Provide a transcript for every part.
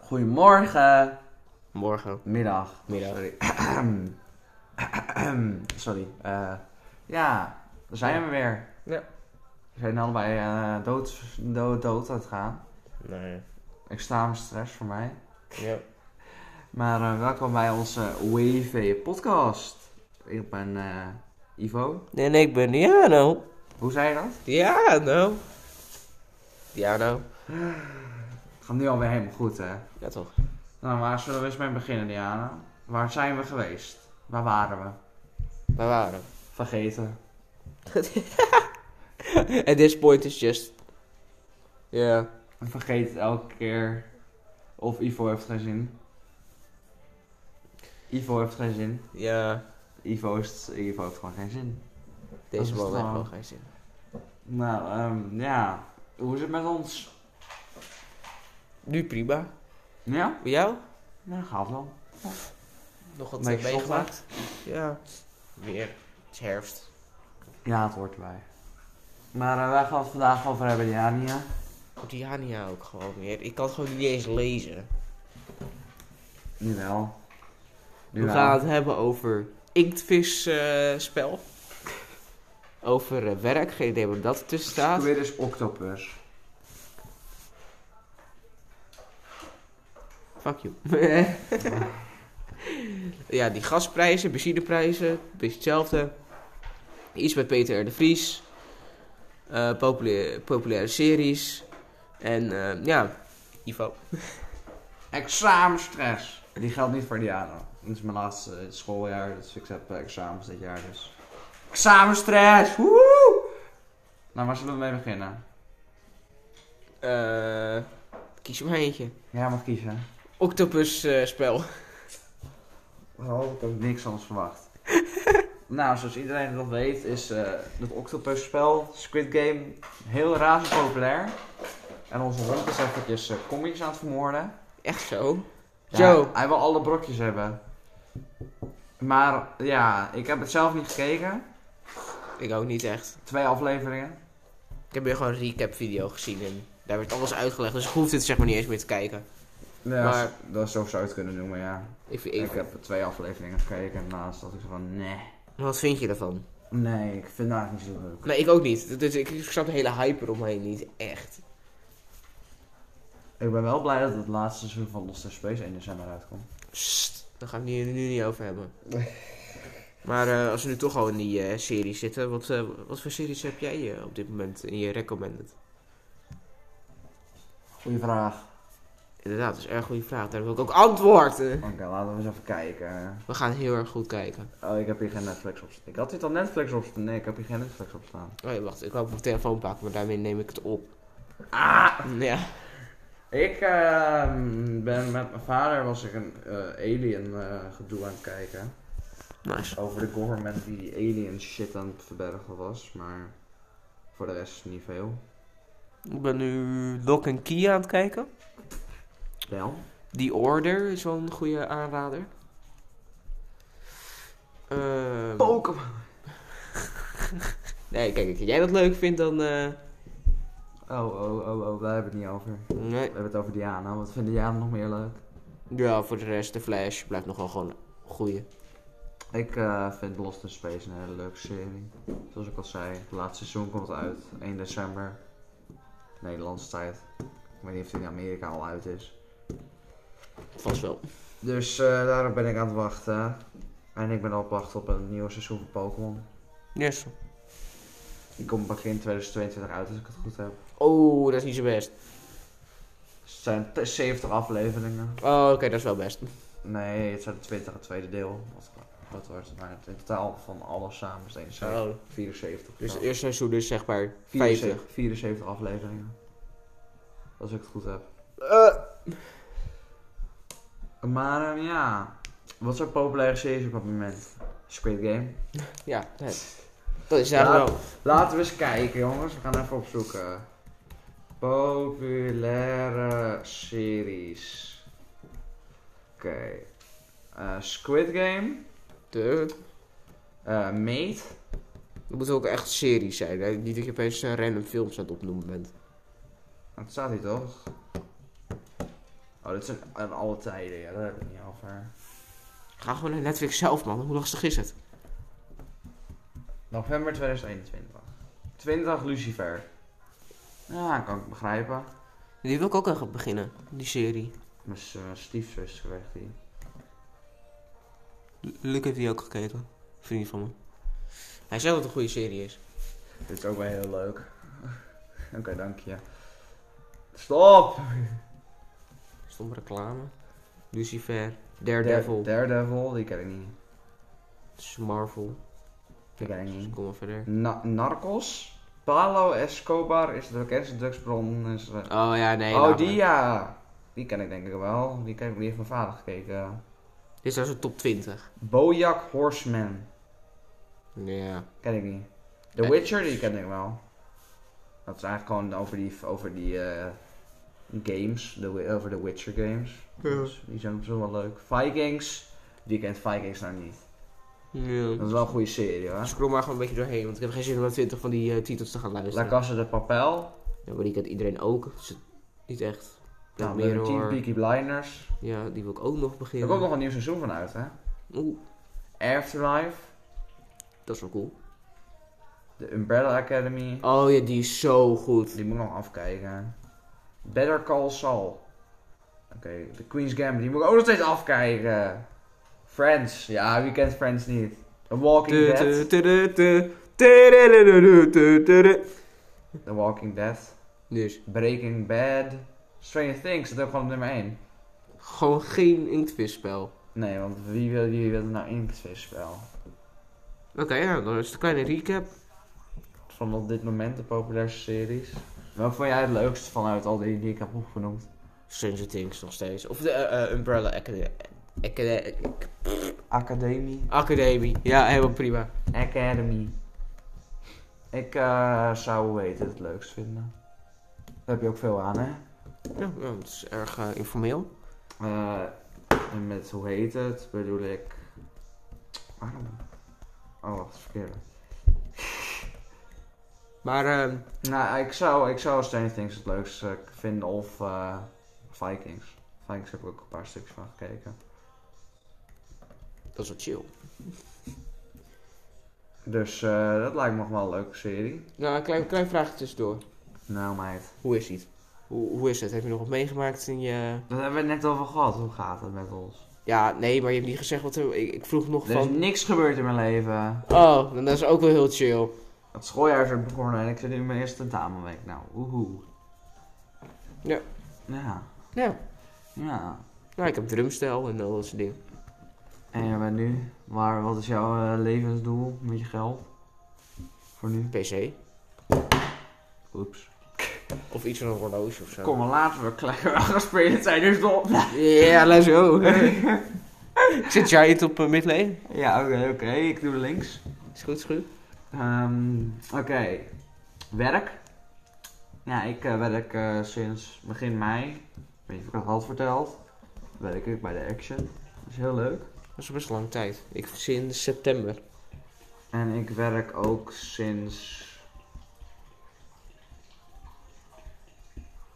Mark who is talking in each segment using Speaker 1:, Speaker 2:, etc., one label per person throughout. Speaker 1: Goedemorgen.
Speaker 2: Morgen.
Speaker 1: Middag.
Speaker 2: Middag.
Speaker 1: Sorry. Sorry. Eh, ja, daar zijn we weer.
Speaker 2: Ja.
Speaker 1: We zijn allebei eh, dood, dood, dood aan het gaan.
Speaker 2: Nee.
Speaker 1: Examenstress voor mij.
Speaker 2: Ja.
Speaker 1: Maar eh, welkom bij onze WV podcast. Ik ben eh, Ivo.
Speaker 2: En ik ben nou. Diano.
Speaker 1: Hoe zei je dat?
Speaker 2: Diano. Diano.
Speaker 1: Het gaat nu alweer helemaal goed, hè?
Speaker 2: Ja toch.
Speaker 1: Nou, waar zullen we eens mee beginnen, Diana? Waar zijn we geweest? Waar waren we?
Speaker 2: Waar waren we?
Speaker 1: Vergeten.
Speaker 2: At this point is just... Ja.
Speaker 1: We vergeten het elke keer. Of Ivo heeft geen zin. Ivo heeft geen zin.
Speaker 2: Ja.
Speaker 1: Ivo, is, Ivo heeft gewoon geen zin.
Speaker 2: Deze
Speaker 1: is
Speaker 2: man heeft
Speaker 1: wel-
Speaker 2: wel geen zin.
Speaker 1: Nou, ehm, ja. Hoe is het met ons?
Speaker 2: Nu prima.
Speaker 1: Ja?
Speaker 2: Bij jou?
Speaker 1: Ja, gaaf dan.
Speaker 2: Nog wat
Speaker 1: Beetje
Speaker 2: eh, meegemaakt? Ja. Weer. Het is herfst.
Speaker 1: Ja, het hoort erbij. Maar eh, wij gaan het vandaag over hebben, Diania.
Speaker 2: Oh, Diania ook gewoon weer. Ik kan het gewoon niet eens lezen.
Speaker 1: Jawel.
Speaker 2: We gaan het hebben over inktvis eh, spel. Over eh, werk. Geen idee wat dat ertussen staat.
Speaker 1: Weer is octopus.
Speaker 2: Fuck you. ja, die gasprijzen, benzineprijzen, een beetje hetzelfde. Iets met Peter R. de Vries. Eh, populair- populaire series. En eh, ja, Ivo.
Speaker 1: Examenstress. Die geldt niet voor Diana. Dit is mijn laatste eh, schooljaar, dus ik heb eh, examens dit jaar dus. Examenstress! Woehoe! Nou, waar zullen we mee beginnen?
Speaker 2: Eh, kies er maar eentje.
Speaker 1: Jij mag kiezen.
Speaker 2: Octopus eh, spel.
Speaker 1: Oh, ik heb niks anders verwacht. nou, zoals iedereen dat weet, is eh het octopusspel, Squid Game, heel razend populair. En onze hond is eventjes eh, commies aan het vermoorden.
Speaker 2: Echt zo.
Speaker 1: Ja,
Speaker 2: Zo.
Speaker 1: Hij wil alle brokjes hebben. Maar ja, ik heb het zelf niet gekeken.
Speaker 2: Ik ook niet echt.
Speaker 1: Twee afleveringen.
Speaker 2: Ik heb weer gewoon een recap video gezien en daar werd alles uitgelegd. Dus ik hoefde het zeg maar niet eens meer te kijken.
Speaker 1: Ja,
Speaker 2: Maar-
Speaker 1: dat zo zou je het kunnen noemen, ja.
Speaker 2: Ik, vind-
Speaker 1: Ik,
Speaker 2: ik,
Speaker 1: heb twee afleveringen gekeken en naast dat ik zo van, nee.
Speaker 2: wat vind je daarvan?
Speaker 1: Nee, ik vind het eigenlijk niet zo leuk.
Speaker 2: Nee, ik ook niet. Dus ik snap de hele hype eromheen niet echt.
Speaker 1: Ik ben wel blij dat het laatste seizoen van Lost in Space 1 december uitkomt.
Speaker 2: Sst, daar gaan we het nu, nu niet over hebben. Maar eh, als we nu toch al in die eh, serie zitten, wat, eh, wat voor series heb jij eh, op dit moment in je recommended?
Speaker 1: Goeie vraag.
Speaker 2: Inderdaad, dat is een erg goede vraag. Daar wil ik ook antwoord. eh.
Speaker 1: Oké, laten we eens even kijken.
Speaker 2: We gaan heel erg goed kijken.
Speaker 1: Oh, ik heb hier geen Netflix op staan. Ik had dit al Netflix op staan. Nee, ik heb hier geen Netflix op staan.
Speaker 2: Oh ja, wacht, ik wou ook mijn telefoon pakken, maar daarmee neem ik het op.
Speaker 1: Ah!
Speaker 2: Ja.
Speaker 1: Ik ehm, ben met mijn vader was ik een eh, alien eh, gedoe aan het kijken.
Speaker 2: Nice.
Speaker 1: Over de government die die alien shit aan het verbergen was, maar voor de rest niet veel.
Speaker 2: Ik ben nu Lock and Key aan het kijken.
Speaker 1: Wel?
Speaker 2: The Order is wel een goede aanrader. Ehm,
Speaker 1: Pokémon!
Speaker 2: nee, kijk, als jij dat leuk vindt, dan... eh,
Speaker 1: Oh, oh, oh, oh, daar hebben we het niet over.
Speaker 2: nee.
Speaker 1: We hebben het over Diana. Wat vindt Diana nog meer leuk?
Speaker 2: Ja, voor de rest, de Flash blijft nogal gewoon een goeie.
Speaker 1: Ik eh, vind Lost in Space een hele leuke serie. Zoals ik al zei, het laatste seizoen komt uit 1 december. Nederlandse tijd. Ik weet niet of die in Amerika al uit is.
Speaker 2: Vast wel.
Speaker 1: Dus eh, daarop ben ik aan het wachten. En ik ben al op wacht op een nieuw seizoen van Pokémon.
Speaker 2: Yes.
Speaker 1: Die komt begin 2022 uit, als ik het goed heb.
Speaker 2: Oh, dat is niet zo best.
Speaker 1: Het zijn t- 70 afleveringen.
Speaker 2: Oh, oké, dat is wel best.
Speaker 1: Nee, het zijn 20 het tweede deel. Wat, wat wordt het? Nou, in totaal van alles samen is het 71,
Speaker 2: Oh.
Speaker 1: 74.
Speaker 2: Dus
Speaker 1: zo.
Speaker 2: het eerste seizoen is zeg maar 50.
Speaker 1: 74, 74 afleveringen. Als ik het goed heb.
Speaker 2: Eh.
Speaker 1: Maar ehm, ja, wat zijn populaire series op het moment? Squid Game.
Speaker 2: Ja, nee. dat is eigenlijk
Speaker 1: Ja.
Speaker 2: wel...
Speaker 1: Laten we eens kijken, jongens. We gaan even opzoeken. Populaire series. Oké. Eh, Squid Game.
Speaker 2: De...
Speaker 1: Eh Mate.
Speaker 2: Dat moet ook echt series zijn. Hè? Niet dat je opeens
Speaker 1: Nou,
Speaker 2: eh, random films aan het opnoemen bent.
Speaker 1: Dat staat hier toch? Oh, dat is een, een alle tijden, ja, daar heb ik het niet over.
Speaker 2: Ga gewoon naar Netflix zelf, man. Hoe lastig is het?
Speaker 1: November 2021. 20 Lucifer. Ja, kan ik begrijpen.
Speaker 2: Die wil ik ook echt beginnen, die serie.
Speaker 1: Mijn s- mijn stiefzus weg die.
Speaker 2: Luc heeft die ook gekeken. Vriend van me. Hij zegt dat het een goede serie is.
Speaker 1: Dit is ook wel heel leuk. Oké, dank je. Stop!
Speaker 2: Stomme reclame. Lucifer. Daredevil.
Speaker 1: Dare- Daredevil, die ken ik niet.
Speaker 2: Dat is Marvel.
Speaker 1: Die ken ik
Speaker 2: dus
Speaker 1: niet.
Speaker 2: Kom maar verder.
Speaker 1: Na- Narcos. Palo Escobar is de bekendste drugsbron. Is eh,
Speaker 2: Oh ja, nee.
Speaker 1: oh,
Speaker 2: laat
Speaker 1: die
Speaker 2: maar.
Speaker 1: ja. Die ken ik denk ik wel. Die, ken ik, die heeft mijn vader gekeken.
Speaker 2: Dit is nou zo'n top 20.
Speaker 1: Bojack Horseman.
Speaker 2: Ja.
Speaker 1: Ken ik niet. The
Speaker 2: Eh.
Speaker 1: Witcher, die ken ik wel. Dat is eigenlijk gewoon over die, over die eh, games. De, wi- over de Witcher games.
Speaker 2: Ja.
Speaker 1: Dus die zijn op zich wel leuk. Vikings. Die kent Vikings nou niet. Dat
Speaker 2: ja.
Speaker 1: is wel een goede serie hoor.
Speaker 2: Dus Scroll maar gewoon een beetje doorheen, want ik heb geen zin om naar 20 van die eh, titels te gaan
Speaker 1: La
Speaker 2: luisteren.
Speaker 1: Casa de Papel.
Speaker 2: Ja, maar die kent iedereen ook. Dus niet echt.
Speaker 1: Nou,
Speaker 2: Black
Speaker 1: nummer 10
Speaker 2: Mirror.
Speaker 1: Peaky Blinders.
Speaker 2: Ja, die wil ik ook nog
Speaker 1: Er
Speaker 2: beginnen.
Speaker 1: komt nog een nieuw seizoen van uit hè.
Speaker 2: Oeh,
Speaker 1: Afterlife.
Speaker 2: dat is wel cool.
Speaker 1: De Umbrella Academy.
Speaker 2: Oh ja, die is zo goed.
Speaker 1: Die moet ik nog afkijken. Better Call Saul. Oké, The Queen's Gambit. Die moet ik ook nog steeds afkijken. Friends. Ja, wie kent Friends niet? The Walking
Speaker 2: Tu-
Speaker 1: Dead.
Speaker 2: tu- tu- tu- tu- tu- tu- tu- tu-
Speaker 1: The Walking Dead.
Speaker 2: Dus,
Speaker 1: Breaking Bad. Stranger Things. Dat is ook gewoon op nummer 1.
Speaker 2: gewoon geen inktvisspel.
Speaker 1: Nee, want wie wil, wie wil er nou in het spel?
Speaker 2: Oké, ja, dan is het een kleine recap.
Speaker 1: Van op dit moment de populairste series. Welke vond jij het leukst vanuit al die die ik heb opgenoemd?
Speaker 2: Stranger Things nog steeds. Of de eh, eh, Umbrella Academy.
Speaker 1: Academie.
Speaker 2: Academy. Ja, helemaal prima.
Speaker 1: Academy. Ik eh, zou hoe heet het, het leukst vinden. Daar heb je ook veel aan, hè?
Speaker 2: Ja, ja, het is erg eh, informeel.
Speaker 1: Eh, en met hoe heet het bedoel ik. Waarom? Oh, wacht, verkeerde.
Speaker 2: Maar ehm,
Speaker 1: Nou, ik zou, ik zou Stranger Things het leukst eh, vinden of eh, Vikings. Vikings heb ik ook een paar stukjes van gekeken.
Speaker 2: dat is wel chill.
Speaker 1: Dus eh, dat lijkt me nog wel een leuke serie.
Speaker 2: Nou, een klein, klein vraagje tussendoor.
Speaker 1: Nou, meid.
Speaker 2: Hoe is het? Hoe, hoe is het? Heb je nog wat meegemaakt in je...
Speaker 1: Dat hebben we het net over gehad. Hoe gaat het met ons?
Speaker 2: Ja, nee, maar je hebt niet gezegd wat er... Ik, ik vroeg nog
Speaker 1: Er is
Speaker 2: van...
Speaker 1: niks gebeurd in mijn leven.
Speaker 2: Oh, dan dat is ook wel heel chill.
Speaker 1: Het schooljaar is weer begonnen en ik zit nu in mijn eerste tentamenweek. Nou, oehoe.
Speaker 2: Ja.
Speaker 1: Ja.
Speaker 2: Ja.
Speaker 1: Ja.
Speaker 2: Nou, ik heb drumstel en al dat soort dingen.
Speaker 1: En jij bent nu, maar wat is jouw eh, levensdoel met je geld? Voor nu?
Speaker 2: PC.
Speaker 1: Oeps.
Speaker 2: Of iets van een horloge of zo.
Speaker 1: Kom maar laten we lekker afspelen, het zijn dus op.
Speaker 2: Ja, let's go. Zit Giant op uh, midlane?
Speaker 1: Ja, oké, oké, ik doe de links.
Speaker 2: Is goed, is goed.
Speaker 1: Ehm, oké, werk. Ja, ik eh, werk eh, sinds begin mei. Ik weet niet of ik dat had verteld. Werk ik bij de Action. Dat is heel leuk.
Speaker 2: Dat is best lang tijd. Ik sinds september.
Speaker 1: En ik werk ook sinds.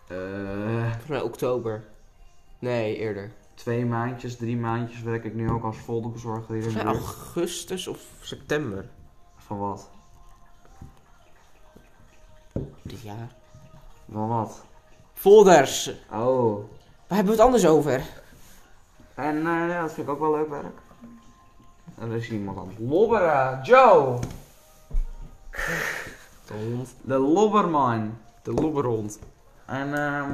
Speaker 1: eh,
Speaker 2: Volgens mij oktober. Nee, eerder.
Speaker 1: twee maandjes, drie maandjes werk ik nu ook als folderbezorger hier in de
Speaker 2: Volgens mij
Speaker 1: buurt.
Speaker 2: augustus of september.
Speaker 1: Van wat?
Speaker 2: Dit jaar.
Speaker 1: Van wat?
Speaker 2: Folders.
Speaker 1: Oh.
Speaker 2: Waar hebben we het anders over?
Speaker 1: En eh, ja, dat vind ik ook wel leuk werk. Er is iemand aan het lobberen. Joe!
Speaker 2: De hond.
Speaker 1: De lobberman.
Speaker 2: De lobberhond.
Speaker 1: En ehm.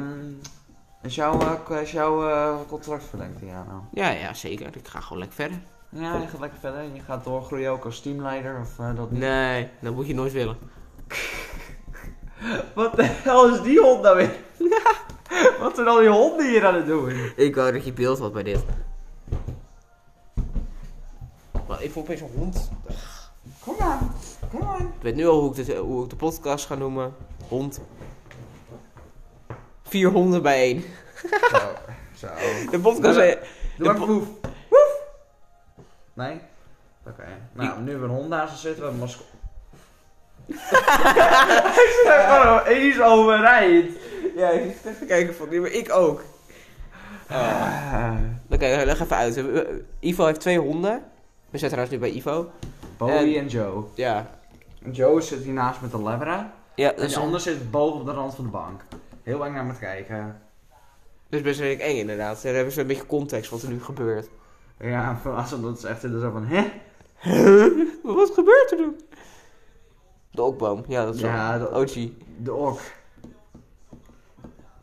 Speaker 1: Is jouw, eh, is jouw eh, contract verlengd, Jano?
Speaker 2: Ja, ja, zeker. Ik ga gewoon lekker verder.
Speaker 1: Ja, je gaat lekker verder. Je gaat doorgroeien ook als teamleider of eh, dat niet.
Speaker 2: Nee, dat moet je nooit willen.
Speaker 1: Wat de hel is die hond nou weer? Wat zijn al die honden hier aan het doen?
Speaker 2: Ik wou dat je beeld had bij dit. Maar ik voel opeens een hond.
Speaker 1: Kom aan, kom aan.
Speaker 2: Ik weet nu al hoe ik, dit, hoe ik de podcast ga noemen. Hond. Vier honden bijeen.
Speaker 1: Zo, zo.
Speaker 2: De podcast...
Speaker 1: Ja.
Speaker 2: eh,
Speaker 1: Doe
Speaker 2: De
Speaker 1: maar woef. Woef. Nee? Oké. Nou, nu we een hond naast ons zitten, we hebben mascotte. Hij zit daar gewoon eens overeind.
Speaker 2: Ja, ik zit even kijken van... maar ik ook.
Speaker 1: Ah.
Speaker 2: Oké, leg even uit. We- Ivo heeft twee honden. We zijn trouwens nu bij Ivo.
Speaker 1: Bowie en, Joe.
Speaker 2: Ja.
Speaker 1: En Joe zit hiernaast met een Labra.
Speaker 2: Ja, dat
Speaker 1: En
Speaker 2: is,
Speaker 1: de ander zit boven op de rand van de bank. Heel eng naar me te kijken.
Speaker 2: dat is dus best wel eng inderdaad. Daar hebben ze een beetje context wat er nu gebeurt.
Speaker 1: Ja, verrassend dat ze echt in de zo van, hè?
Speaker 2: wat gebeurt er nu? De okboom, ja dat is
Speaker 1: Ja,
Speaker 2: wel-
Speaker 1: dat-
Speaker 2: OG.
Speaker 1: De ok.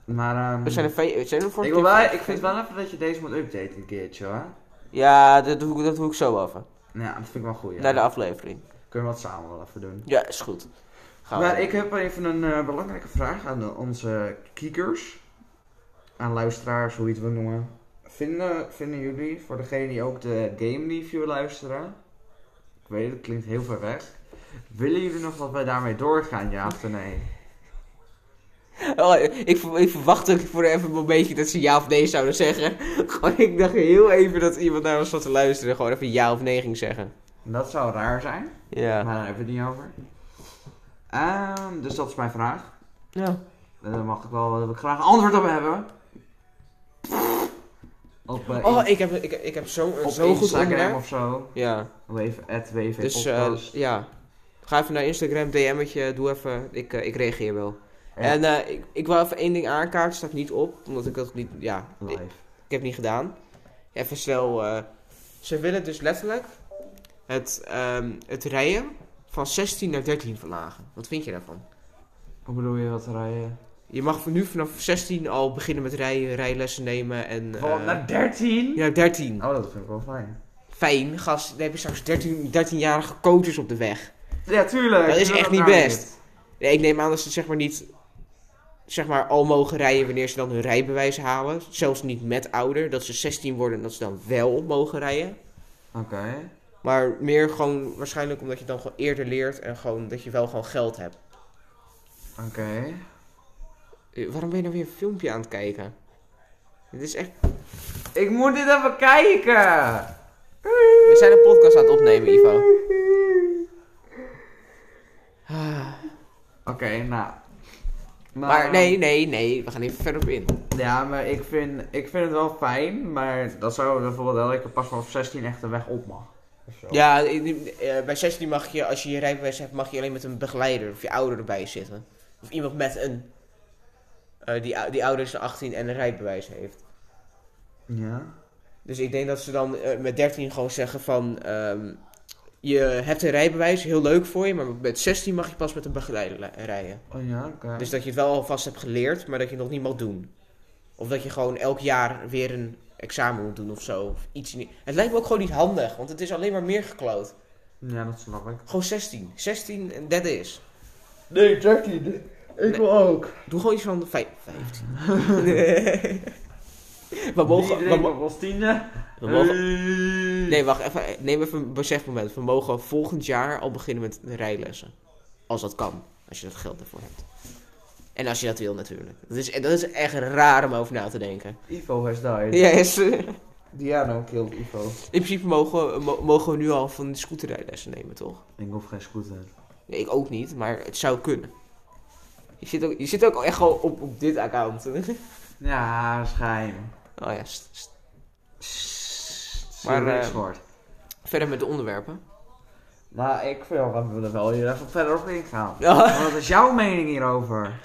Speaker 1: Maar, ehm...
Speaker 2: We zijn er, ve- zijn er voor
Speaker 1: ik, wil wel, ik vind wel even dat je deze moet updaten een keertje hoor.
Speaker 2: Ja, dat doe, ik, dat doe ik zo even.
Speaker 1: Ja, dat vind ik wel goed. Ja.
Speaker 2: Naar de aflevering.
Speaker 1: Kun je wat samen wel even doen.
Speaker 2: Ja, is goed. Gaan we.
Speaker 1: Maar ik heb even een eh, belangrijke vraag aan de- onze kiekers. Aan luisteraars, hoe je het wil noemen. Vinden, vinden jullie, voor degene die ook de game review luisteren. Ik weet het, klinkt heel ver weg. Willen jullie nog dat wij daarmee doorgaan, ja of nee?
Speaker 2: Oh, ik, ver- ik verwachtte ook voor even een momentje dat ze ja of nee zouden zeggen. Gewoon, ik dacht heel even dat iemand naar ons zat te luisteren en gewoon even ja of nee ging zeggen.
Speaker 1: Dat zou raar zijn,
Speaker 2: Ja.
Speaker 1: maar Nou, daar hebben we het niet over. Ehm, dus dat is mijn vraag.
Speaker 2: Ja.
Speaker 1: En Daar mag ik wel daar wil ik graag een antwoord op hebben. Op, eh,
Speaker 2: Oh,
Speaker 1: in-
Speaker 2: ik heb, ik, ik heb zo'n
Speaker 1: op
Speaker 2: zo goed
Speaker 1: Instagram
Speaker 2: onderwerp.
Speaker 1: of zo.
Speaker 2: Ja,
Speaker 1: Even, at WV
Speaker 2: dus eh,
Speaker 1: podcast.
Speaker 2: ja. Ga even naar Instagram, DM'tje, doe even. Ik, eh, ik reageer wel.
Speaker 1: Ja.
Speaker 2: En eh, ik, ik wil even één ding aankaarten, staat niet op, omdat ik dat niet, ja, ik,
Speaker 1: live.
Speaker 2: ik heb niet gedaan. Even snel, eh, ze willen dus letterlijk het, ehm, het rijden van 16 naar 13 verlagen. Wat vind je daarvan?
Speaker 1: Hoe bedoel je wat rijden?
Speaker 2: Je mag van nu vanaf 16 al beginnen met rijden, rijlessen nemen en... eh,
Speaker 1: naar 13?
Speaker 2: Ja, 13.
Speaker 1: Oh, dat vind ik wel fijn.
Speaker 2: Fijn, gast. Dan heb je straks 13, 13-jarige coaches op de weg.
Speaker 1: Ja, tuurlijk.
Speaker 2: Dat is
Speaker 1: Ik wil
Speaker 2: echt niet
Speaker 1: nou
Speaker 2: best. Nee, ik neem aan dat ze zeg maar niet... Zeg maar al mogen rijden wanneer ze dan hun rijbewijs halen. Zelfs niet met ouder. Dat ze 16 worden en dat ze dan wel mogen rijden.
Speaker 1: Oké.
Speaker 2: Maar meer gewoon waarschijnlijk omdat je dan gewoon eerder leert. En gewoon dat je wel gewoon geld hebt.
Speaker 1: Oké.
Speaker 2: Eh, Waarom ben je nou weer een filmpje aan het kijken? Dit is echt...
Speaker 1: Ik moet dit even kijken.
Speaker 2: We zijn een podcast aan het opnemen, Ivo. Ah.
Speaker 1: Oké, nou.
Speaker 2: Maar nee, nee, nee, we gaan even verder op in.
Speaker 1: Ja, maar ik vind, ik vind het wel fijn, maar dat zou bijvoorbeeld wel dat ik pas vanaf 16 echt de weg op mag. Of zo.
Speaker 2: Ja, in- in- eh, bij 16 mag je, als je je rijbewijs hebt, mag je alleen met een begeleider of je ouder erbij zitten. Of iemand met een, eh, die, ou- die ouder is dan 18 en een rijbewijs heeft.
Speaker 1: Ja.
Speaker 2: Dus ik denk dat ze dan eh, met 13 gewoon zeggen van, ehm, je hebt een rijbewijs, heel leuk voor je, maar met 16 mag je pas met een begeleider li- rijden.
Speaker 1: Oh ja, oké.
Speaker 2: Dus dat je het wel alvast hebt geleerd, maar dat je het nog niet mag doen. Of dat je gewoon elk jaar weer een examen moet doen of zo. Of iets niet. Het lijkt me ook gewoon niet handig, want het is alleen maar meer gekloot.
Speaker 1: Ja, dat snap ik.
Speaker 2: Gewoon 16. 16 en dat is.
Speaker 1: Nee, 13. Ik wil ook.
Speaker 2: Doe gewoon iets van vijf- 15. Nee. we mogen. We
Speaker 1: Iedereen
Speaker 2: mo-
Speaker 1: mag wel tiende.
Speaker 2: we mogen
Speaker 1: Hey.
Speaker 2: nee, wacht even. Neem even een besefmoment. We mogen volgend jaar al beginnen met de rijlessen. Als dat kan. Als je dat geld ervoor hebt. En als je dat wil, natuurlijk. Dat is, dat is echt raar om over na te denken.
Speaker 1: Ivo has died.
Speaker 2: Ja, is.
Speaker 1: Diano killed Ivo.
Speaker 2: In principe mogen, mo- mogen we nu al van die scooterrijlessen nemen, toch?
Speaker 1: Ik hoef geen scooter.
Speaker 2: Nee, ik ook niet, maar het zou kunnen. Je zit ook, je zit ook echt al op, op dit account. oh
Speaker 1: Ja, schijn.
Speaker 2: ja, st- st-
Speaker 1: Maar
Speaker 2: Maar,
Speaker 1: niks
Speaker 2: eh,
Speaker 1: wordt.
Speaker 2: verder met de onderwerpen.
Speaker 1: Nou, ik wil we er wel hier even verder op ingaan.
Speaker 2: Ja,
Speaker 1: Wat is jouw mening hierover?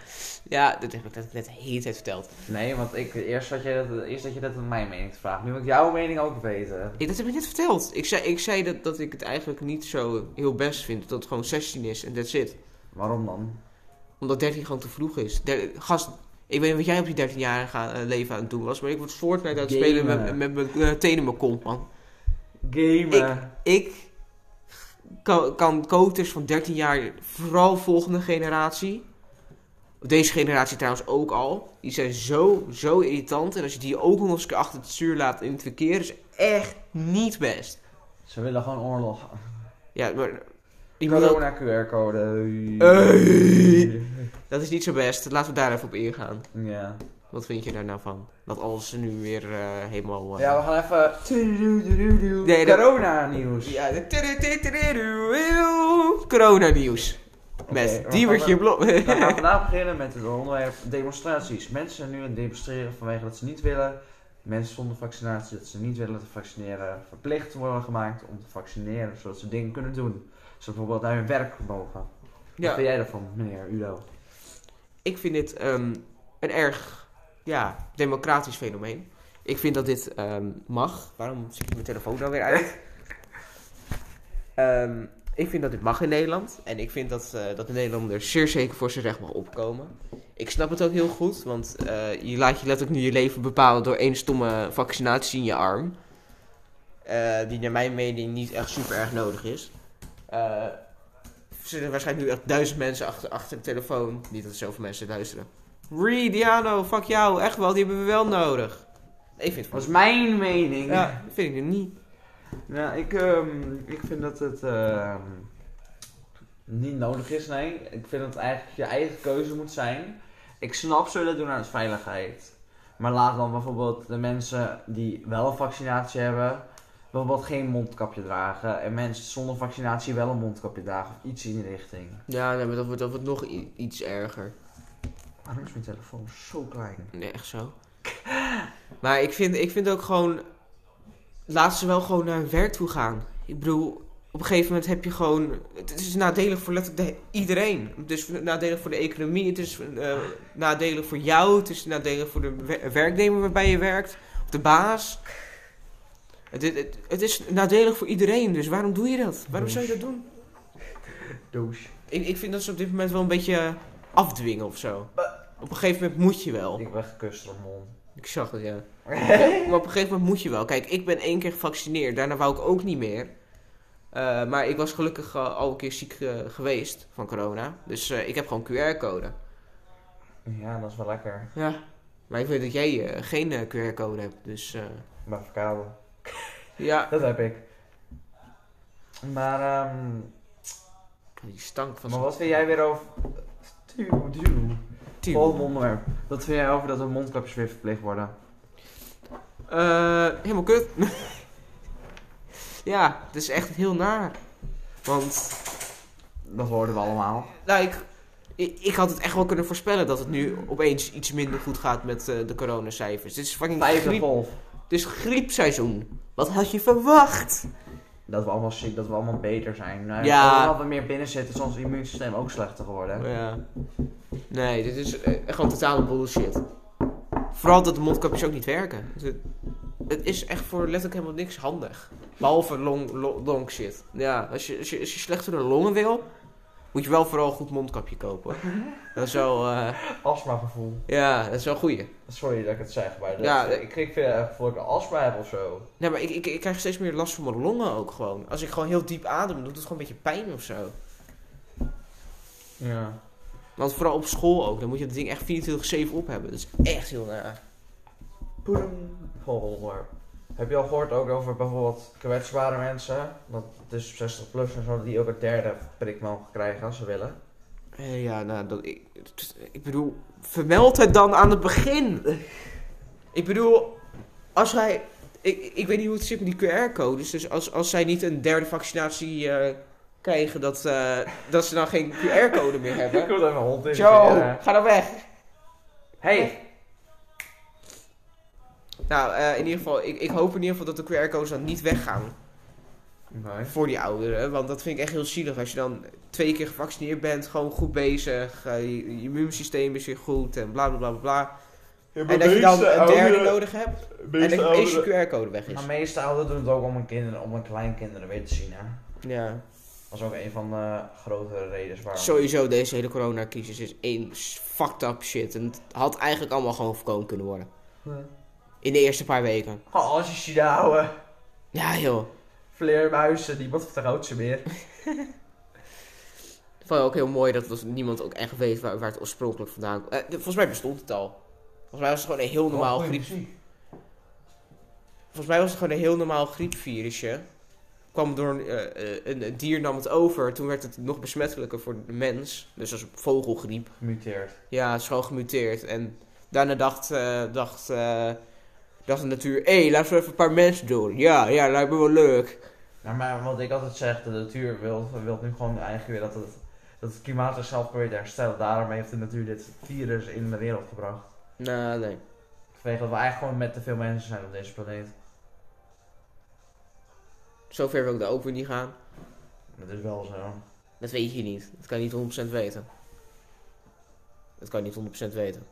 Speaker 2: dat heb ik net, net de hele tijd verteld.
Speaker 1: Nee, want ik, eerst, had je dat, eerst had je dat aan mijn mening te vragen. Nu wil ik jouw mening ook weten.
Speaker 2: Ik, dat heb ik net verteld. Ik zei, ik zei dat, dat ik het eigenlijk niet zo heel best vind. Dat het gewoon 16 is en that's it.
Speaker 1: Waarom dan?
Speaker 2: Omdat 13 gewoon te vroeg is. Der- gast, ik weet niet wat jij op je 13-jarige eh, leven aan het doen was. Maar ik was Fortnite aan het spelen met, met,
Speaker 1: Gamen.
Speaker 2: mijn eh, tenen in mijn kont, man.
Speaker 1: Gamen.
Speaker 2: ik kan, kan coaches van 13 jaar, vooral volgende generatie, deze generatie trouwens ook al, die zijn zo, zo irritant. En als je die ook nog eens een keer achter het stuur laat in het verkeer, is echt niet best.
Speaker 1: Ze willen gewoon oorlog.
Speaker 2: Ja, maar die moet ook-
Speaker 1: Corona QR-code.
Speaker 2: Hey. dat is niet zo best. Laten we daar even op ingaan.
Speaker 1: Ja.
Speaker 2: Wat vind je daar nou van? Dat alles nu weer eh, helemaal... eh,
Speaker 1: Ja, we gaan even... Tudududududu.
Speaker 2: Nee, dat-
Speaker 1: Corona nieuws.
Speaker 2: Ja, de tudu-tudu-tudu-tudu. coronanieuws. Met
Speaker 1: Oké, we
Speaker 2: Diewertje Blom.
Speaker 1: We gaan vandaag beginnen met het onderwerp demonstraties. Mensen zijn nu aan het demonstreren vanwege dat ze niet willen mensen zonder vaccinatie, dat ze niet willen laten vaccineren, verplicht worden gemaakt om te vaccineren, zodat ze dingen kunnen doen. Ze bijvoorbeeld naar hun werk mogen. Wat
Speaker 2: Ja,
Speaker 1: vind jij daarvan, meneer Udo?
Speaker 2: ik vind dit ehm, een erg ja, democratisch fenomeen. Ik vind dat dit ehm, mag. Waarom zit mijn telefoon nou weer uit? Ehm, ik vind dat dit mag in Nederland. En ik vind dat, eh, dat de Nederlander zeer zeker voor zijn recht mag opkomen. Ik snap het ook heel goed, want eh, je laat je letterlijk nu je leven bepalen door één stomme vaccinatie in je arm. Eh, die naar mijn mening niet echt super erg nodig is. Eh, er zitten waarschijnlijk nu echt duizend mensen achter, achter de telefoon. Niet dat er zoveel mensen luisteren. Ree, Diano, fuck jou, echt wel, die hebben we wel nodig. Ik vind
Speaker 1: Dat
Speaker 2: het
Speaker 1: is mijn mening.
Speaker 2: Ja, dat vind ik het niet.
Speaker 1: Nou, ik, ehm, ik vind dat het ehm, niet nodig is, nee. Ik vind dat het eigenlijk je eigen keuze moet zijn. Ik snap ze willen doen aan de veiligheid. Maar laat dan bijvoorbeeld de mensen die wel een vaccinatie hebben, bijvoorbeeld geen mondkapje dragen. En mensen zonder vaccinatie wel een mondkapje dragen of iets in die richting.
Speaker 2: Ja, nee, maar dat wordt, dat wordt nog i- iets erger.
Speaker 1: Waarom is mijn telefoon zo klein?
Speaker 2: Nee, echt zo. Maar ik vind, ik vind ook gewoon... Laat ze wel gewoon naar hun werk toe gaan. Ik bedoel, op een gegeven moment heb je gewoon... Het is nadelig voor letterlijk de- iedereen. Het is nadelig voor de economie. Het is eh, nadelig voor jou. Het is nadelig voor de wer- werknemer waarbij je werkt. Of de baas. Het, het, het- het is nadelig voor iedereen. Dus waarom doe je dat? Waarom zou je dat doen?
Speaker 1: Douche.
Speaker 2: Ik, ik vind dat ze op dit moment wel een beetje afdwingen of zo. Op een gegeven moment moet je wel.
Speaker 1: Ik ben gekust door mond.
Speaker 2: Ik zag het, ja. maar op een gegeven moment moet je wel. Kijk, ik ben één keer gevaccineerd. Daarna wou ik ook niet meer. Eh, maar ik was gelukkig eh, al een keer ziek eh, geweest van corona. Dus eh, ik heb gewoon QR-code.
Speaker 1: Ja, dat is wel lekker.
Speaker 2: Ja. Maar ik weet dat jij eh, geen eh, QR-code hebt. Dus eh,
Speaker 1: Maar verkouden.
Speaker 2: ja.
Speaker 1: Dat heb ik. Maar, ehm,
Speaker 2: Die stank van
Speaker 1: maar wat vind jij weer over. Tuw, tuw.
Speaker 2: Tuw.
Speaker 1: Volgende onderwerp. Wat vind jij over dat de mondkapjes weer verplicht worden?
Speaker 2: Eh, helemaal kut. ja, het is echt heel naar. Want
Speaker 1: Dat hoorden we allemaal.
Speaker 2: Nou, ik, ik, ik had het echt wel kunnen voorspellen dat het nu opeens iets minder goed gaat met eh, de coronacijfers. Dit is fucking
Speaker 1: Vijfde
Speaker 2: griep,
Speaker 1: golf.
Speaker 2: dit is griepseizoen. Wat had je verwacht?
Speaker 1: Dat we allemaal ziek, dat we allemaal beter zijn. Nou,
Speaker 2: Ja.
Speaker 1: Omdat we meer binnen zitten, is ons immuunsysteem ook slechter geworden.
Speaker 2: Oh Ja. Nee, dit is eh, gewoon totale bullshit. Vooral dat de mondkapjes ook niet werken. Het, het is echt voor letterlijk helemaal niks handig. Behalve long, long, long shit. Ja, als je, als, je, als je slechtere longen wil, moet je wel vooral een goed mondkapje kopen. Dat is wel, eh,
Speaker 1: Astmagevoel.
Speaker 2: ja, dat is wel een goeie.
Speaker 1: Sorry dat ik het zeg, maar dat,
Speaker 2: Ja,
Speaker 1: ik, ik vind echt voor ik astma heb of zo.
Speaker 2: Nee, maar ik, ik, ik krijg steeds meer last van mijn longen ook gewoon. Als ik gewoon heel diep adem, doet het gewoon een beetje pijn of zo.
Speaker 1: Ja.
Speaker 2: Want vooral op school ook, dan moet je dat ding echt 24-7 op hebben. Dat is echt heel naar.
Speaker 1: Poedem. Volgende onderwerp. Heb je al gehoord ook over bijvoorbeeld kwetsbare mensen? Dat dus 60 plus en zo, dat die ook een derde prik mogen krijgen als ze willen.
Speaker 2: Eh, ja, nou, dat, ik, het- ik bedoel, vermeld het dan aan het begin. Ik bedoel, als wij... Ik, ik weet niet hoe het zit met die QR-codes. Dus als, als zij niet een derde vaccinatie eh, krijgen, dat, eh, dat ze dan geen QR-code meer
Speaker 1: Ik
Speaker 2: hebben.
Speaker 1: wil daar mijn hond in.
Speaker 2: Joe, ga dan weg.
Speaker 1: Hey,
Speaker 2: Nou, eh, in ieder geval, ik, ik hoop in ieder geval dat de QR-codes dan niet weggaan voor die ouderen. Want dat vind ik echt heel zielig. Als je dan twee keer gevaccineerd bent, gewoon goed bezig, eh, je, je immuunsysteem is weer goed en bla bla bla bla, bla. En dat je dan een derde nodig hebt en dat eens je QR-code weg is.
Speaker 1: Maar meeste ouderen doen het ook om hun kinderen, om hun kleinkinderen weer te zien, hè.
Speaker 2: Ja.
Speaker 1: Dat is ook een van de grotere redenen waarom.
Speaker 2: Sowieso, deze hele coronacrisis is één s- fucked up shit. En het had eigenlijk allemaal gewoon voorkomen kunnen worden.
Speaker 1: Ja.
Speaker 2: In de eerste paar weken.
Speaker 1: Oh, als je ziet houden.
Speaker 2: Ja joh.
Speaker 1: Vleermuizen, niemand vertrouwt ze meer.
Speaker 2: Ik vond het ook heel mooi dat was- niemand ook echt weet waar, waar het oorspronkelijk vandaan kwam. Eh, de- volgens mij bestond het al. Volgens mij was het gewoon een heel normaal
Speaker 1: Oh,
Speaker 2: griep. Volgens mij was het gewoon een heel normaal griepvirusje. Kwam door een, eh, eh, een, een dier nam het over. Toen werd het nog besmettelijker voor de mens. Dus als vogelgriep.
Speaker 1: Gemuteerd.
Speaker 2: Ja, het is gewoon gemuteerd. En daarna dacht, eh, dacht, eh, dacht de natuur... Hé, hey, laten we even een paar mensen doen. Ja, ja, lijkt me wel leuk.
Speaker 1: Nou, maar wat ik altijd zeg, de natuur wil, wil nu gewoon eigenlijk weer dat het, dat het klimaat zichzelf probeert te herstellen. Daarom heeft de natuur dit virus in de wereld gebracht.
Speaker 2: Nou, nee.
Speaker 1: Ik vind Vanwege dat we eigenlijk gewoon met te veel mensen zijn op deze planeet.
Speaker 2: Zover wil ik daar ook weer niet gaan.
Speaker 1: Dat is wel zo.
Speaker 2: Dat weet je niet. Dat kan je niet 100% weten. Dat kan je niet 100% weten.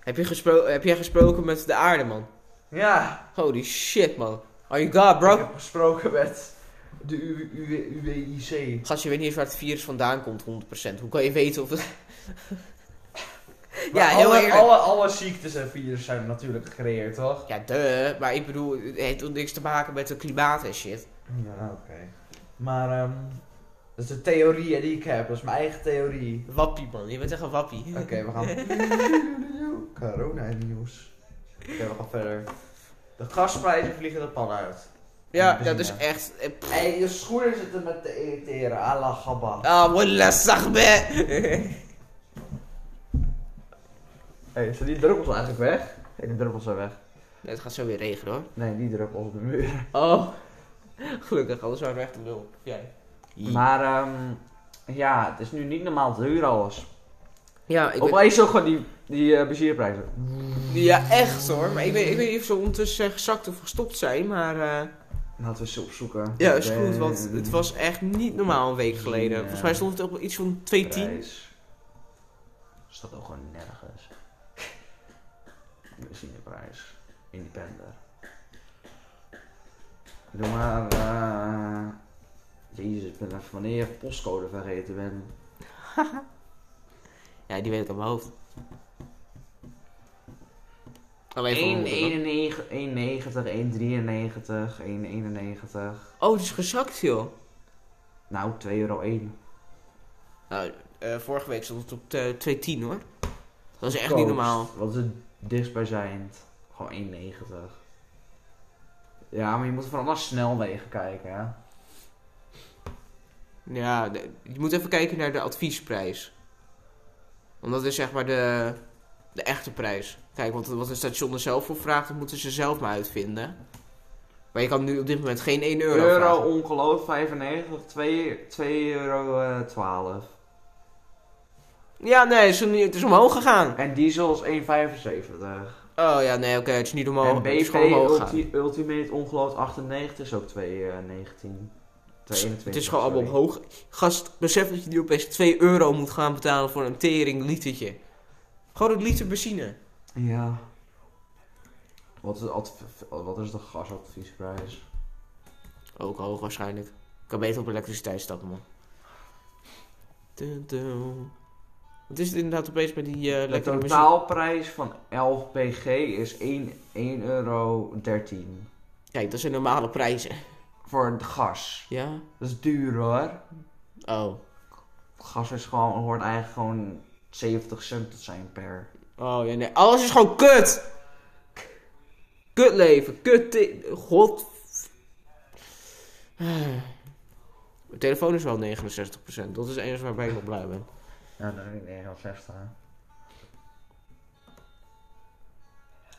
Speaker 2: Heb, je gespro heb jij gesproken met de aarde, man?
Speaker 1: Ja,
Speaker 2: Holy shit, man. Are you god,
Speaker 1: ik
Speaker 2: bro?
Speaker 1: heb gesproken met de U- U- UWIC.
Speaker 2: Gast, je weet niet eens waar het virus vandaan komt, 100%. Hoe kan je weten of het...
Speaker 1: Maar
Speaker 2: ja, heel
Speaker 1: alle,
Speaker 2: eerlijk.
Speaker 1: alle, alle ziektes en virussen zijn natuurlijk gecreëerd, toch?
Speaker 2: Ja, duh. Maar ik bedoel, het heeft ook niks te maken met het klimaat en shit.
Speaker 1: Ja, oké. Maar, ehm dat is de theorie die ik heb. Dat is mijn eigen theorie.
Speaker 2: Wappie, man. Je bent echt een wappie.
Speaker 1: Oké, we gaan. Corona-nieuws. Oké, we gaan verder. De gasprijzen vliegen de pan uit.
Speaker 2: Ja,
Speaker 1: Ja,
Speaker 2: dat is
Speaker 1: ja.
Speaker 2: echt... eh, pff.
Speaker 1: Hé, je schoenen zitten met de irriteren. Ala gabba.
Speaker 2: Ah, wallah, sahbe.
Speaker 1: Hé, zijn die druppels nou eigenlijk weg? Nee, die druppels zijn weg.
Speaker 2: Nee, het gaat zo weer regenen, hoor.
Speaker 1: Nee, die druppels op de muur.
Speaker 2: Oh. Gelukkig, anders waren we echt een lul. Jij.
Speaker 1: Maar, ehm ja, het is nu niet normaal duur alles.
Speaker 2: Ja, ik weet,
Speaker 1: Opeens ook gewoon die, die eh, benzineprijzen.
Speaker 2: ja, echt hoor. Maar ik weet, ik weet niet of ze ondertussen zijn gezakt of gestopt zijn. Maar eh,
Speaker 1: Laten we ze opzoeken. Eh,
Speaker 2: ja, is goed. Want het was echt niet normaal een week geleden. Volgens mij stond het op iets van 210.
Speaker 1: Prijs. Staat ook gewoon nergens. Benzineprijs. Independer. Doe maar. eh, Jezus, ik ben even wanneer je postcode vergeten ben.
Speaker 2: Ja, die weet ik op mijn hoofd. Alleen voor mijn moeder, hoor.
Speaker 1: 1,91, 1,90, 1,93, 1,91.
Speaker 2: Oh, het is gezakt joh.
Speaker 1: Nou, 2,01 euro.
Speaker 2: Nou, eh, vorige week stond het op eh, 210 hoor. Dat is echt niet normaal.
Speaker 1: Wat is het dichtstbijzijnd? Gewoon 1,90. Ja, maar je moet vooral naar snelwegen kijken, hè.
Speaker 2: Ja, de- je moet even kijken naar de adviesprijs. Want dat is zeg maar de, de echte prijs. Kijk, want wat een station er zelf voor vraagt, dat moeten ze zelf maar uitvinden. Maar je kan nu op dit moment geen 1 euro,
Speaker 1: euro,
Speaker 2: vragen.
Speaker 1: ongeloof 95, 2, 2 euro eh, 12.
Speaker 2: Ja, nee, het is, het is omhoog gegaan.
Speaker 1: En diesel is 1,75.
Speaker 2: Oh ja, nee, oké, het is niet omhoog.
Speaker 1: En
Speaker 2: Het is
Speaker 1: BP
Speaker 2: gewoon omhoog gegaan.
Speaker 1: ulti, Ultimate ongeloof 98 is ook 2,19. 22,
Speaker 2: Het is gewoon allemaal
Speaker 1: sorry.
Speaker 2: omhoog. Gast, besef dat je nu opeens 2 euro moet gaan betalen voor een tering litertje. Gewoon een liter benzine.
Speaker 1: Ja. Wat is, het adv- wat is de gasadviesprijs?
Speaker 2: Ook hoog waarschijnlijk. Ik kan beter op elektriciteit stappen, man. Dun, dun. Wat is het inderdaad opeens met die eh
Speaker 1: De
Speaker 2: lekkere
Speaker 1: totaalprijs van 11 pg is 1,13 euro.
Speaker 2: muziek? Kijk, dat zijn normale prijzen.
Speaker 1: Voor het gas.
Speaker 2: Ja?
Speaker 1: Dat is duur hoor.
Speaker 2: Oh.
Speaker 1: Gas is gewoon, hoort eigenlijk gewoon 70 cent te zijn per.
Speaker 2: Oh, ja, nee. Alles is gewoon kut! Kut leven, kut... ti- God... Mijn telefoon is wel 69%. Dat is het enige waarbij ik nog blij ben.
Speaker 1: Ja, dat is 69.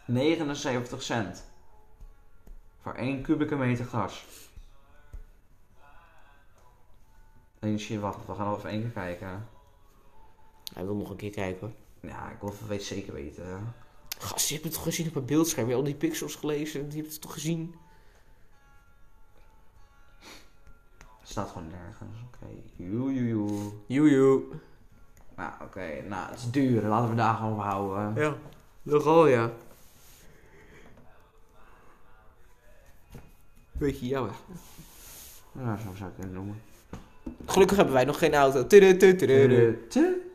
Speaker 1: 79 cent. Voor 1 kubieke meter gas. Nee, shit, wacht, we gaan nog even één keer kijken.
Speaker 2: Hij wil nog een keer kijken, hoor.
Speaker 1: Ja, ik wil even weet- zeker weten.
Speaker 2: Gast, je hebt het toch gezien op een beeldscherm? Je hebt al die pixels gelezen. Je hebt het toch gezien?
Speaker 1: Het staat gewoon nergens. Oké, joe, joe, joe.
Speaker 2: Joejoe.
Speaker 1: Nou, oké, nou, het is duur. Laten we daar gewoon op houden.
Speaker 2: Ja, nogal ja. Beetje jammer.
Speaker 1: Nou, zo zou ik het noemen.
Speaker 2: Gelukkig hebben wij nog geen auto. Tudu, tudu, tudu.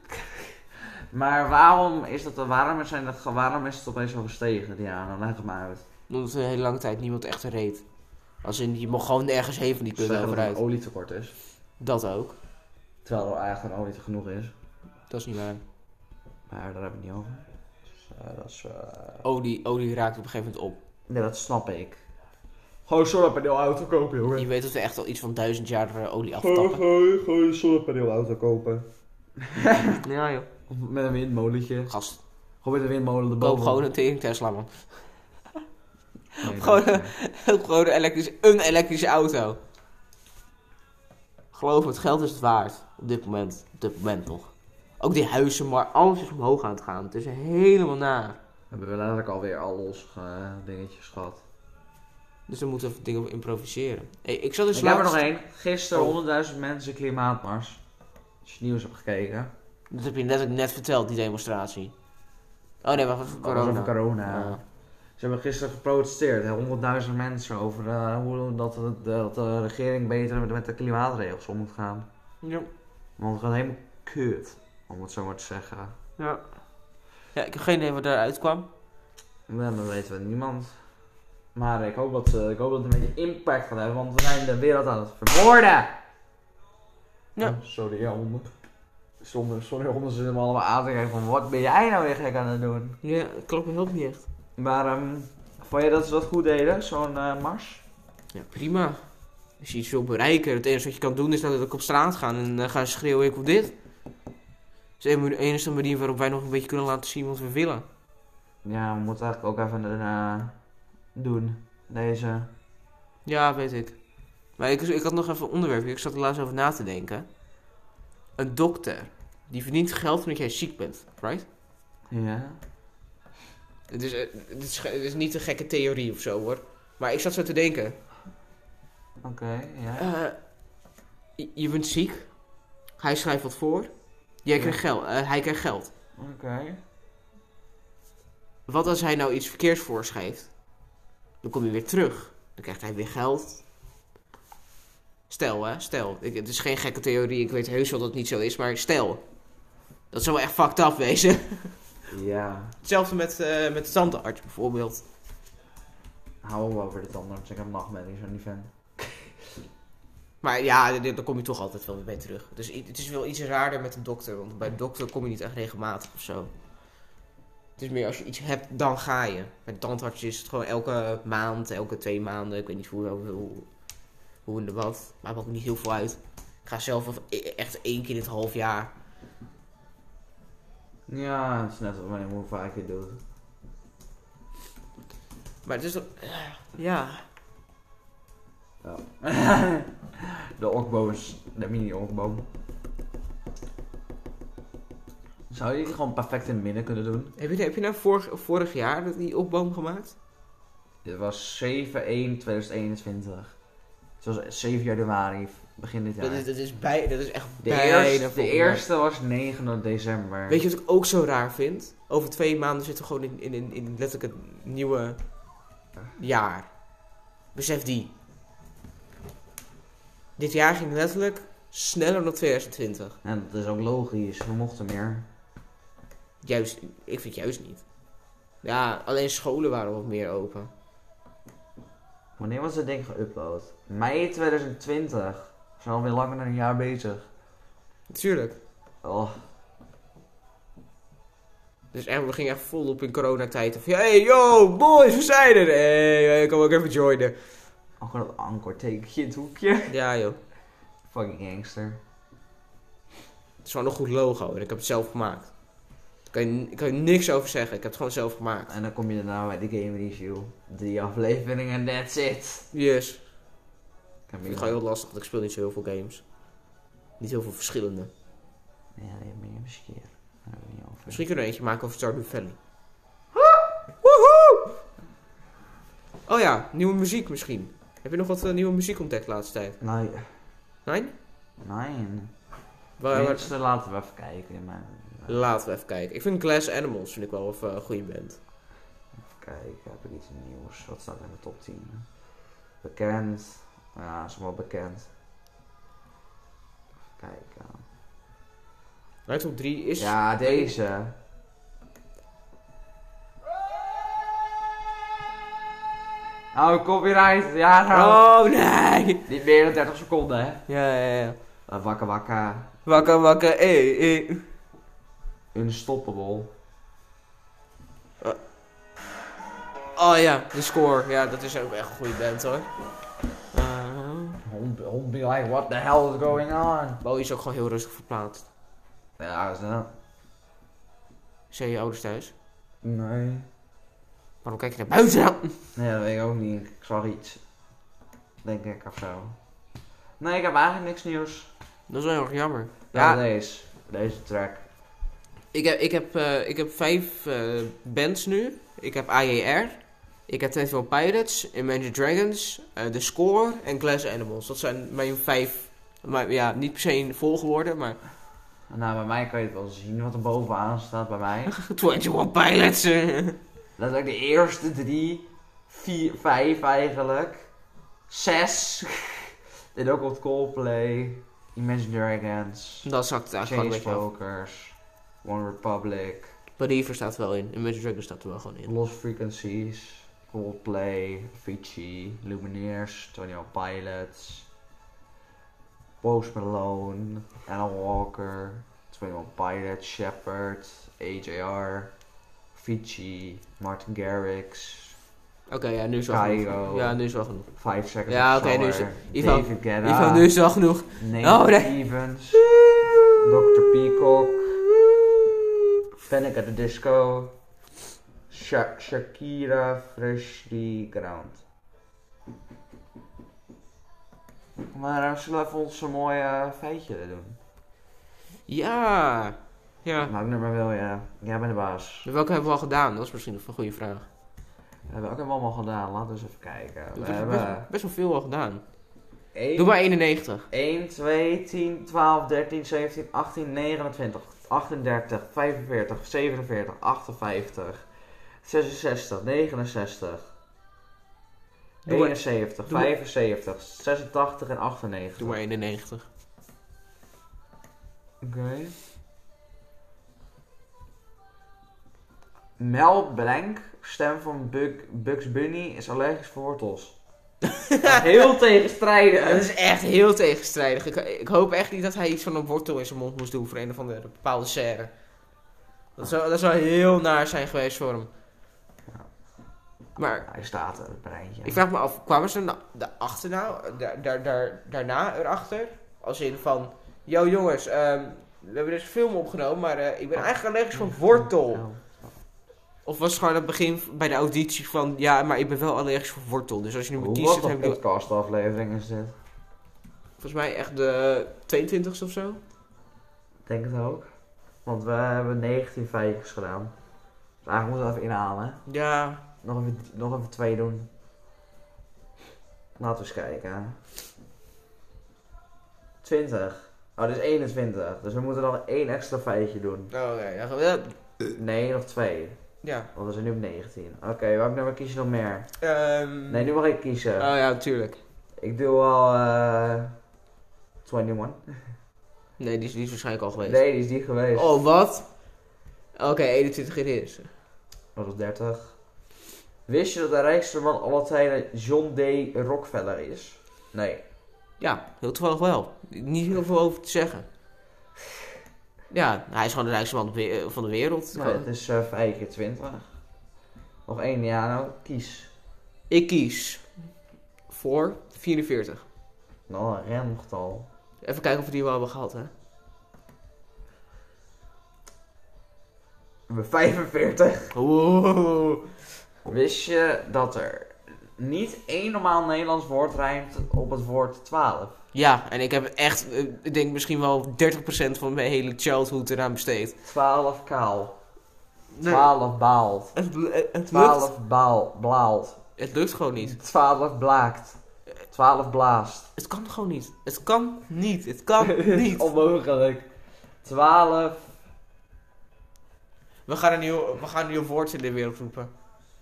Speaker 1: Maar waarom is, dat, waarom, zijn dat, waarom is het opeens zo gestegen, Diana? Leg het maar uit.
Speaker 2: Omdat een hele lange tijd niemand echt reed. Als in, je mag gewoon nergens heen van die
Speaker 1: Zeggen
Speaker 2: kut
Speaker 1: dat er een
Speaker 2: overuit.
Speaker 1: olietekort is.
Speaker 2: Dat ook.
Speaker 1: Terwijl er eigenlijk gewoon olie te genoeg is.
Speaker 2: Dat is niet waar.
Speaker 1: Maar daar heb ik het niet over. Dus, eh, dat is, eh,
Speaker 2: Olie, olie raakt op een gegeven moment op.
Speaker 1: Nee, dat snap ik. Gewoon zonnepaneelauto kopen,
Speaker 2: Je
Speaker 1: jongen.
Speaker 2: weet dat we echt al iets van duizend jaar eh,
Speaker 1: Gewoon,
Speaker 2: olie aftappen.
Speaker 1: gewoon, gewoon een zonnepaneelauto kopen.
Speaker 2: Ja joh.
Speaker 1: Of met een windmolentje.
Speaker 2: Gast,
Speaker 1: Gewoon met een windmolen
Speaker 2: koop
Speaker 1: erboven.
Speaker 2: gewoon een tering Tesla man.
Speaker 1: Nee, dat-
Speaker 2: gewoon een- Koop gewoon een elektrische, een elektrische auto. Geloof me, het geld is het waard. Op dit moment. Op dit moment nog. Ook die huizen, maar alles is omhoog aan het gaan. Het is helemaal naar.
Speaker 1: Hebben we letterlijk alweer al los eh, dingetjes gehad.
Speaker 2: Dus dan moeten we dingen op improviseren. Hey, ik zat dus
Speaker 1: ik heb er
Speaker 2: laatst...
Speaker 1: nog één. Gisteren
Speaker 2: Oh.
Speaker 1: 100.000 mensen klimaatmars. Als je het nieuws hebt gekeken.
Speaker 2: Dat heb je net, net verteld, die demonstratie. Oh nee, wacht even. Corona.
Speaker 1: Over corona.
Speaker 2: Ja.
Speaker 1: Ze hebben gisteren geprotesteerd. hè, 100.000 mensen over eh, hoe dat, de- dat de regering beter met, met de klimaatregels om moet gaan.
Speaker 2: Ja.
Speaker 1: Want het gaat helemaal kut. Om het zo maar te zeggen.
Speaker 2: ja. ik heb geen idee wat daaruit kwam.
Speaker 1: Ja, dat weten we niemand. Maar ik hoop, dat, ze- ik hoop dat het een beetje impact gaat hebben, want we zijn de wereld aan het vermoorden!
Speaker 2: Ja.
Speaker 1: Oh, sorry, ja, honden. Zonder, sorry, honden zitten me allemaal aan te kijken van wat ben jij nou weer gek aan het doen?
Speaker 2: Ja, dat klopt me helpt niet echt.
Speaker 1: Maar ehm vond je dat ze dat goed deden, zo'n eh, mars?
Speaker 2: Ja, prima. Als je iets wil bereiken, het enige wat je kan doen is natuurlijk op straat gaan en eh, gaan schreeuwen, ik wil dit. Dat is de enige manier waarop wij nog een beetje kunnen laten zien wat we willen.
Speaker 1: Ja, we moeten eigenlijk ook even een eh, doen. Deze.
Speaker 2: Ja, weet ik. Maar ik, ik had nog even een onderwerp, ik zat er laatst over na te denken. Een dokter, die verdient geld omdat jij ziek bent, right?
Speaker 1: Ja.
Speaker 2: Het is, eh, het is, ge- het is niet een gekke theorie of zo hoor. Maar ik zat zo te denken,
Speaker 1: Oké, ja.
Speaker 2: Eh, je- je bent ziek, hij schrijft wat voor, jij
Speaker 1: Ja.
Speaker 2: krijgt geld, eh, hij krijgt geld.
Speaker 1: Oké.
Speaker 2: Wat als hij nou iets verkeers voorschrijft? Dan kom je weer terug. Dan krijgt hij weer geld. Stel, hè, stel. Ik, het is geen gekke theorie, ik weet heus wel dat het niet zo is, maar stel. Dat zou wel echt fucked up wezen.
Speaker 1: Ja.
Speaker 2: Hetzelfde met, eh, met de tandarts bijvoorbeeld.
Speaker 1: Hou hem over dit anders. Ik heb nachtmerries van die fan.
Speaker 2: Maar ja, d- daar kom je toch altijd wel weer bij terug. Dus i- het is wel iets raarder met een dokter, want bij een dokter kom je niet echt regelmatig of zo. Het is meer als je iets hebt, dan ga je. Bij de tandarts is het gewoon elke maand, elke twee maanden. Ik weet niet hoe, hoe, hoe- hoe en de wat. Maakt me ook niet heel veel uit. Ik ga zelf wel e- echt één keer in het half jaar.
Speaker 1: Ja, het is net als wanneer hoe vaak je het doet.
Speaker 2: Maar het is toch... ah. Ja.
Speaker 1: De okboom is de mini-okboom. Zou je die gewoon perfect in het midden kunnen doen?
Speaker 2: Heb je, heb je nou vorig, vorig jaar dat die opboom gemaakt?
Speaker 1: Dit was 7-1-2021. Het was 7 januari, begin dit jaar.
Speaker 2: Dat, is, dat, is bij, dat is echt
Speaker 1: De,
Speaker 2: bijna
Speaker 1: eerste, de
Speaker 2: volgend jaar.
Speaker 1: eerste was 9 december.
Speaker 2: Weet je wat ik ook zo raar vind? Over twee maanden zitten we gewoon in, in, in, in letterlijk het nieuwe jaar. Besef die. Dit jaar ging letterlijk sneller dan 2020.
Speaker 1: En dat is ook logisch, we mochten meer.
Speaker 2: Juist, ik vind juist niet. Ja, alleen scholen waren wat meer open.
Speaker 1: Wanneer was dit ding geüpload? Mei 2020. We zijn alweer langer dan een jaar bezig.
Speaker 2: Natuurlijk.
Speaker 1: Oh,
Speaker 2: Dus echt, we gingen echt volop in coronatijd. Van, hey yo, boys, we zijn er. Hey, ik kan ook even joinen.
Speaker 1: ook gewoon oh, dat anker tekentje in het hoekje.
Speaker 2: Ja joh,
Speaker 1: Fucking gangster.
Speaker 2: het is gewoon een goed logo en ik heb het zelf gemaakt. Daar kan je, daar kan je niks over zeggen, ik heb het gewoon zelf gemaakt.
Speaker 1: En dan kom je daarna bij de game review. Drie afleveringen en that's it.
Speaker 2: Yes.
Speaker 1: Ik heb
Speaker 2: Ik vind het gewoon heel lastig, want ik speel niet zo heel veel games. Niet heel veel verschillende.
Speaker 1: Ja, je hebt meer misschien. Daar hebben we niet over.
Speaker 2: Misschien kunnen we er eentje maken over Stardew Valley. Woehoe! Oh ja, nieuwe muziek misschien. Heb je nog wat eh, nieuwe muziek ontdekt de laatste tijd?
Speaker 1: Nee.
Speaker 2: Nee?
Speaker 1: Nee.
Speaker 2: Waar, waar-
Speaker 1: Mensen, laten we even kijken. Maar...
Speaker 2: Laten we even kijken. Ik vind Glass Animals vind ik wel een eh, goede band.
Speaker 1: Even kijken, heb ik iets nieuws? Wat staat in de top 10? Bekend. Ja, is wel bekend. Even kijken.
Speaker 2: Mijn top 3 is...
Speaker 1: Ja, deze. Oh, copyright. Ja, nou.
Speaker 2: Oh nee!
Speaker 1: Niet meer dan 30 seconden, hè.
Speaker 2: Ja, ja, ja.
Speaker 1: Eh, wakka wakka.
Speaker 2: Wakker, wakker, eh, eh.
Speaker 1: Unstoppable.
Speaker 2: Oh ja, de score. Ja, dat is ook echt een goede band hoor. Eh,
Speaker 1: Hond hond be like, what the hell is going on?
Speaker 2: Bo is ook gewoon heel rustig verplaatst.
Speaker 1: Ja, is dat?
Speaker 2: Zijn je ouders thuis?
Speaker 1: Nee.
Speaker 2: Waarom kijk je naar buiten dan?
Speaker 1: Nee, dat weet ik ook niet. Ik zag iets. Denk ik of zo. Nee, ik heb eigenlijk niks nieuws.
Speaker 2: Dat is wel heel erg jammer.
Speaker 1: Ja,
Speaker 2: Ja,
Speaker 1: deze. Deze track.
Speaker 2: Ik heb, ik heb, eh, ik heb vijf eh, bands nu. Ik heb AJR. Ik heb Tentville Pirates, Imagine Dragons, eh, The Score en Glass Animals. Dat zijn mijn vijf, maar, ja, niet per se in volgorde, maar
Speaker 1: Nou, bij mij kan je het wel zien wat er bovenaan staat bij mij.
Speaker 2: 21 Pilots. eh.
Speaker 1: Letterlijk de eerste drie, vier, vijf eigenlijk. Zes. en ook op Coldplay, Imagine Dragons,
Speaker 2: Dan zakt het eigenlijk gewoon een beetje af.
Speaker 1: Chainsmokers, One Republic,
Speaker 2: Believer staat wel in. Imagine Dragons staat er wel gewoon in.
Speaker 1: Lost Frequencies, Coldplay, Avicii, Lumineers, 21 Pilots, Post Malone, Alan Walker, 21 Pilots, Shepard, AJR, Avicii, Martin Garrix,
Speaker 2: Oké, ja, nu is wel genoeg.
Speaker 1: Cairo.
Speaker 2: Ja, nu is wel genoeg.
Speaker 1: 5 Seconds
Speaker 2: Ja,
Speaker 1: of
Speaker 2: oké, nu is-
Speaker 1: Summer,
Speaker 2: Ivo-
Speaker 1: David Guetta,
Speaker 2: Ivo, nu is wel genoeg.
Speaker 1: Nate
Speaker 2: Oh, nee.
Speaker 1: Stevens, Dr. Peacock, Panic at the Disco, Sha- Shakira, Freshly Ground. Maar eh, zullen we even onze mooie feitje doen?
Speaker 2: Ja. Ja.
Speaker 1: Maak nummer wel, ja. Jij bent de baas.
Speaker 2: Welke hebben we al gedaan? Dat is misschien nog een goede vraag.
Speaker 1: We hebben ook helemaal allemaal gedaan. Laten we eens even kijken. We
Speaker 2: Best- best,
Speaker 1: hebben
Speaker 2: best wel veel al gedaan.
Speaker 1: 1,
Speaker 2: Doe maar 91.
Speaker 1: 1, 2, 10, 12, 13, 17, 18, 29, 38, 45, 47, 58, 66, 69,
Speaker 2: Doe maar-
Speaker 1: 71,
Speaker 2: doe maar-
Speaker 1: 75, 86 en 98.
Speaker 2: Doe maar 91.
Speaker 1: Oké. Mel Blank, stem van Bug- Bugs Bunny, is allergisch voor wortels. Heel tegenstrijdig.
Speaker 2: Ja, dus- dat is echt heel tegenstrijdig. Ik, ik hoop echt niet dat hij iets van een wortel in zijn mond moest doen voor een of andere bepaalde serre. Dat zou, dat zou heel naar zijn geweest voor hem. Maar
Speaker 1: Hij staat er, het breintje.
Speaker 2: ik vraag me af, kwamen ze na- daarachter nou, daar, daar, daar, daarna erachter? Als in van, yo jongens, ehm, we hebben dus een film opgenomen, maar eh, ik ben eigenlijk allergisch voor wortel.
Speaker 1: Oh.
Speaker 2: Of was het gewoon aan het begin bij de auditie van, ja, maar ik ben wel allergisch voor wortel. Dus als je nu
Speaker 1: Hoe
Speaker 2: moet kiezen,
Speaker 1: wat
Speaker 2: dan
Speaker 1: een
Speaker 2: heb je
Speaker 1: podcastaflevering is dit?
Speaker 2: volgens mij echt de 22 of zo.
Speaker 1: Ik denk het ook. Want we hebben 19 feitjes gedaan. Dus eigenlijk moeten we even inhalen.
Speaker 2: Ja,
Speaker 1: Nog even, nog even twee doen. Laten we eens kijken. 20. Oh, dit is 21. Dus we moeten nog één extra feitje doen.
Speaker 2: Oh, Oké, ja, goed, ja,
Speaker 1: Nee, nog twee.
Speaker 2: ja.
Speaker 1: Want we zijn nu op 19. Oké, welk nummer kies je nog meer?
Speaker 2: Ehm,
Speaker 1: Nee, nu mag ik kiezen.
Speaker 2: Oh ja, natuurlijk.
Speaker 1: Ik doe al eh 21.
Speaker 2: Nee, die is, die is waarschijnlijk al geweest.
Speaker 1: Nee, die is die geweest.
Speaker 2: Oh, wat? Oké, 21 in de eerste.
Speaker 1: Dat was 30. Wist je dat de rijkste man aller tijden John D. Rockefeller is? Nee.
Speaker 2: Ja, heel toevallig wel. Niet heel veel over te zeggen. Ja, hij is gewoon de rijkste man op we- eh, van de wereld.
Speaker 1: Nou, het is eh 5 keer 20. Nog één jaar nou, kies.
Speaker 2: Ik kies voor 44.
Speaker 1: Nou, een random getal.
Speaker 2: Even kijken of we die wel hebben gehad, hè.
Speaker 1: We hebben 45.
Speaker 2: Wow.
Speaker 1: Wist je dat er niet één normaal Nederlands woord rijmt op het woord 12?
Speaker 2: Ja, en ik heb echt, eh, ik denk misschien wel 30% van mijn hele childhood eraan besteed.
Speaker 1: 12 kaal. 12 baalt.
Speaker 2: Het, eh, het, het, lukt,
Speaker 1: 12 baal, blaalt.
Speaker 2: het lukt gewoon niet.
Speaker 1: 12 blaakt. 12 blaast.
Speaker 2: Het kan gewoon niet. Het kan niet. Het kan niet.
Speaker 1: Onmogelijk. 12
Speaker 2: We gaan een nieuw, we gaan een nieuw woord in de wereld roepen.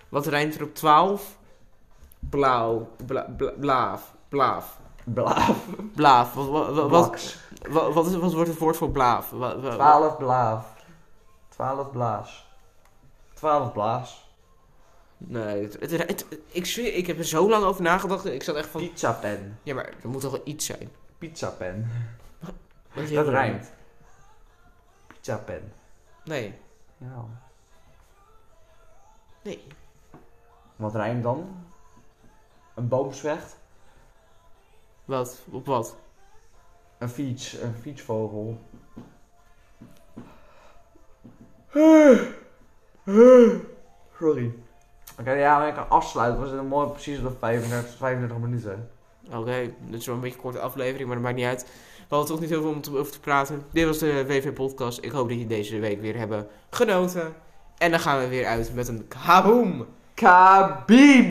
Speaker 2: Wat rijmt er op 12? Blauw. Bla, bla- blaaf. Blaaf.
Speaker 1: blaaf.
Speaker 2: Blaaf. Wat, wat, wat, wat,
Speaker 1: Blaks.
Speaker 2: wat, is- wat wordt het woord voor blaaf? Wa- wa-
Speaker 1: 12 blaaf. 12 blaas. 12 blaas.
Speaker 2: Nee, het, het- het- ik, zweer, ik heb er zo lang over nagedacht. Ik zat echt van.
Speaker 1: Pizza pen.
Speaker 2: Ja, maar er moet toch wel iets zijn.
Speaker 1: Pizza pen.
Speaker 2: Dat, is heel
Speaker 1: Dat
Speaker 2: raar.
Speaker 1: rijmt. Pizza pen.
Speaker 2: Nee.
Speaker 1: Ja.
Speaker 2: Nee.
Speaker 1: Wat rijmt dan? Een boom zwijgt.
Speaker 2: Wat? Op wat?
Speaker 1: Een fiets. Een fietsvogel. Sorry. Oké, ja, maar ik kan afsluiten. We zitten mooi precies op de 35, 35 minuten.
Speaker 2: Oké. Oké, dat is wel een beetje een korte aflevering, maar dat maakt niet uit. We hadden toch niet heel veel om te, over te praten. Dit was de WV Podcast. Ik hoop dat je deze week weer hebben genoten. En dan gaan we weer uit met een kaboom!
Speaker 1: Kabim!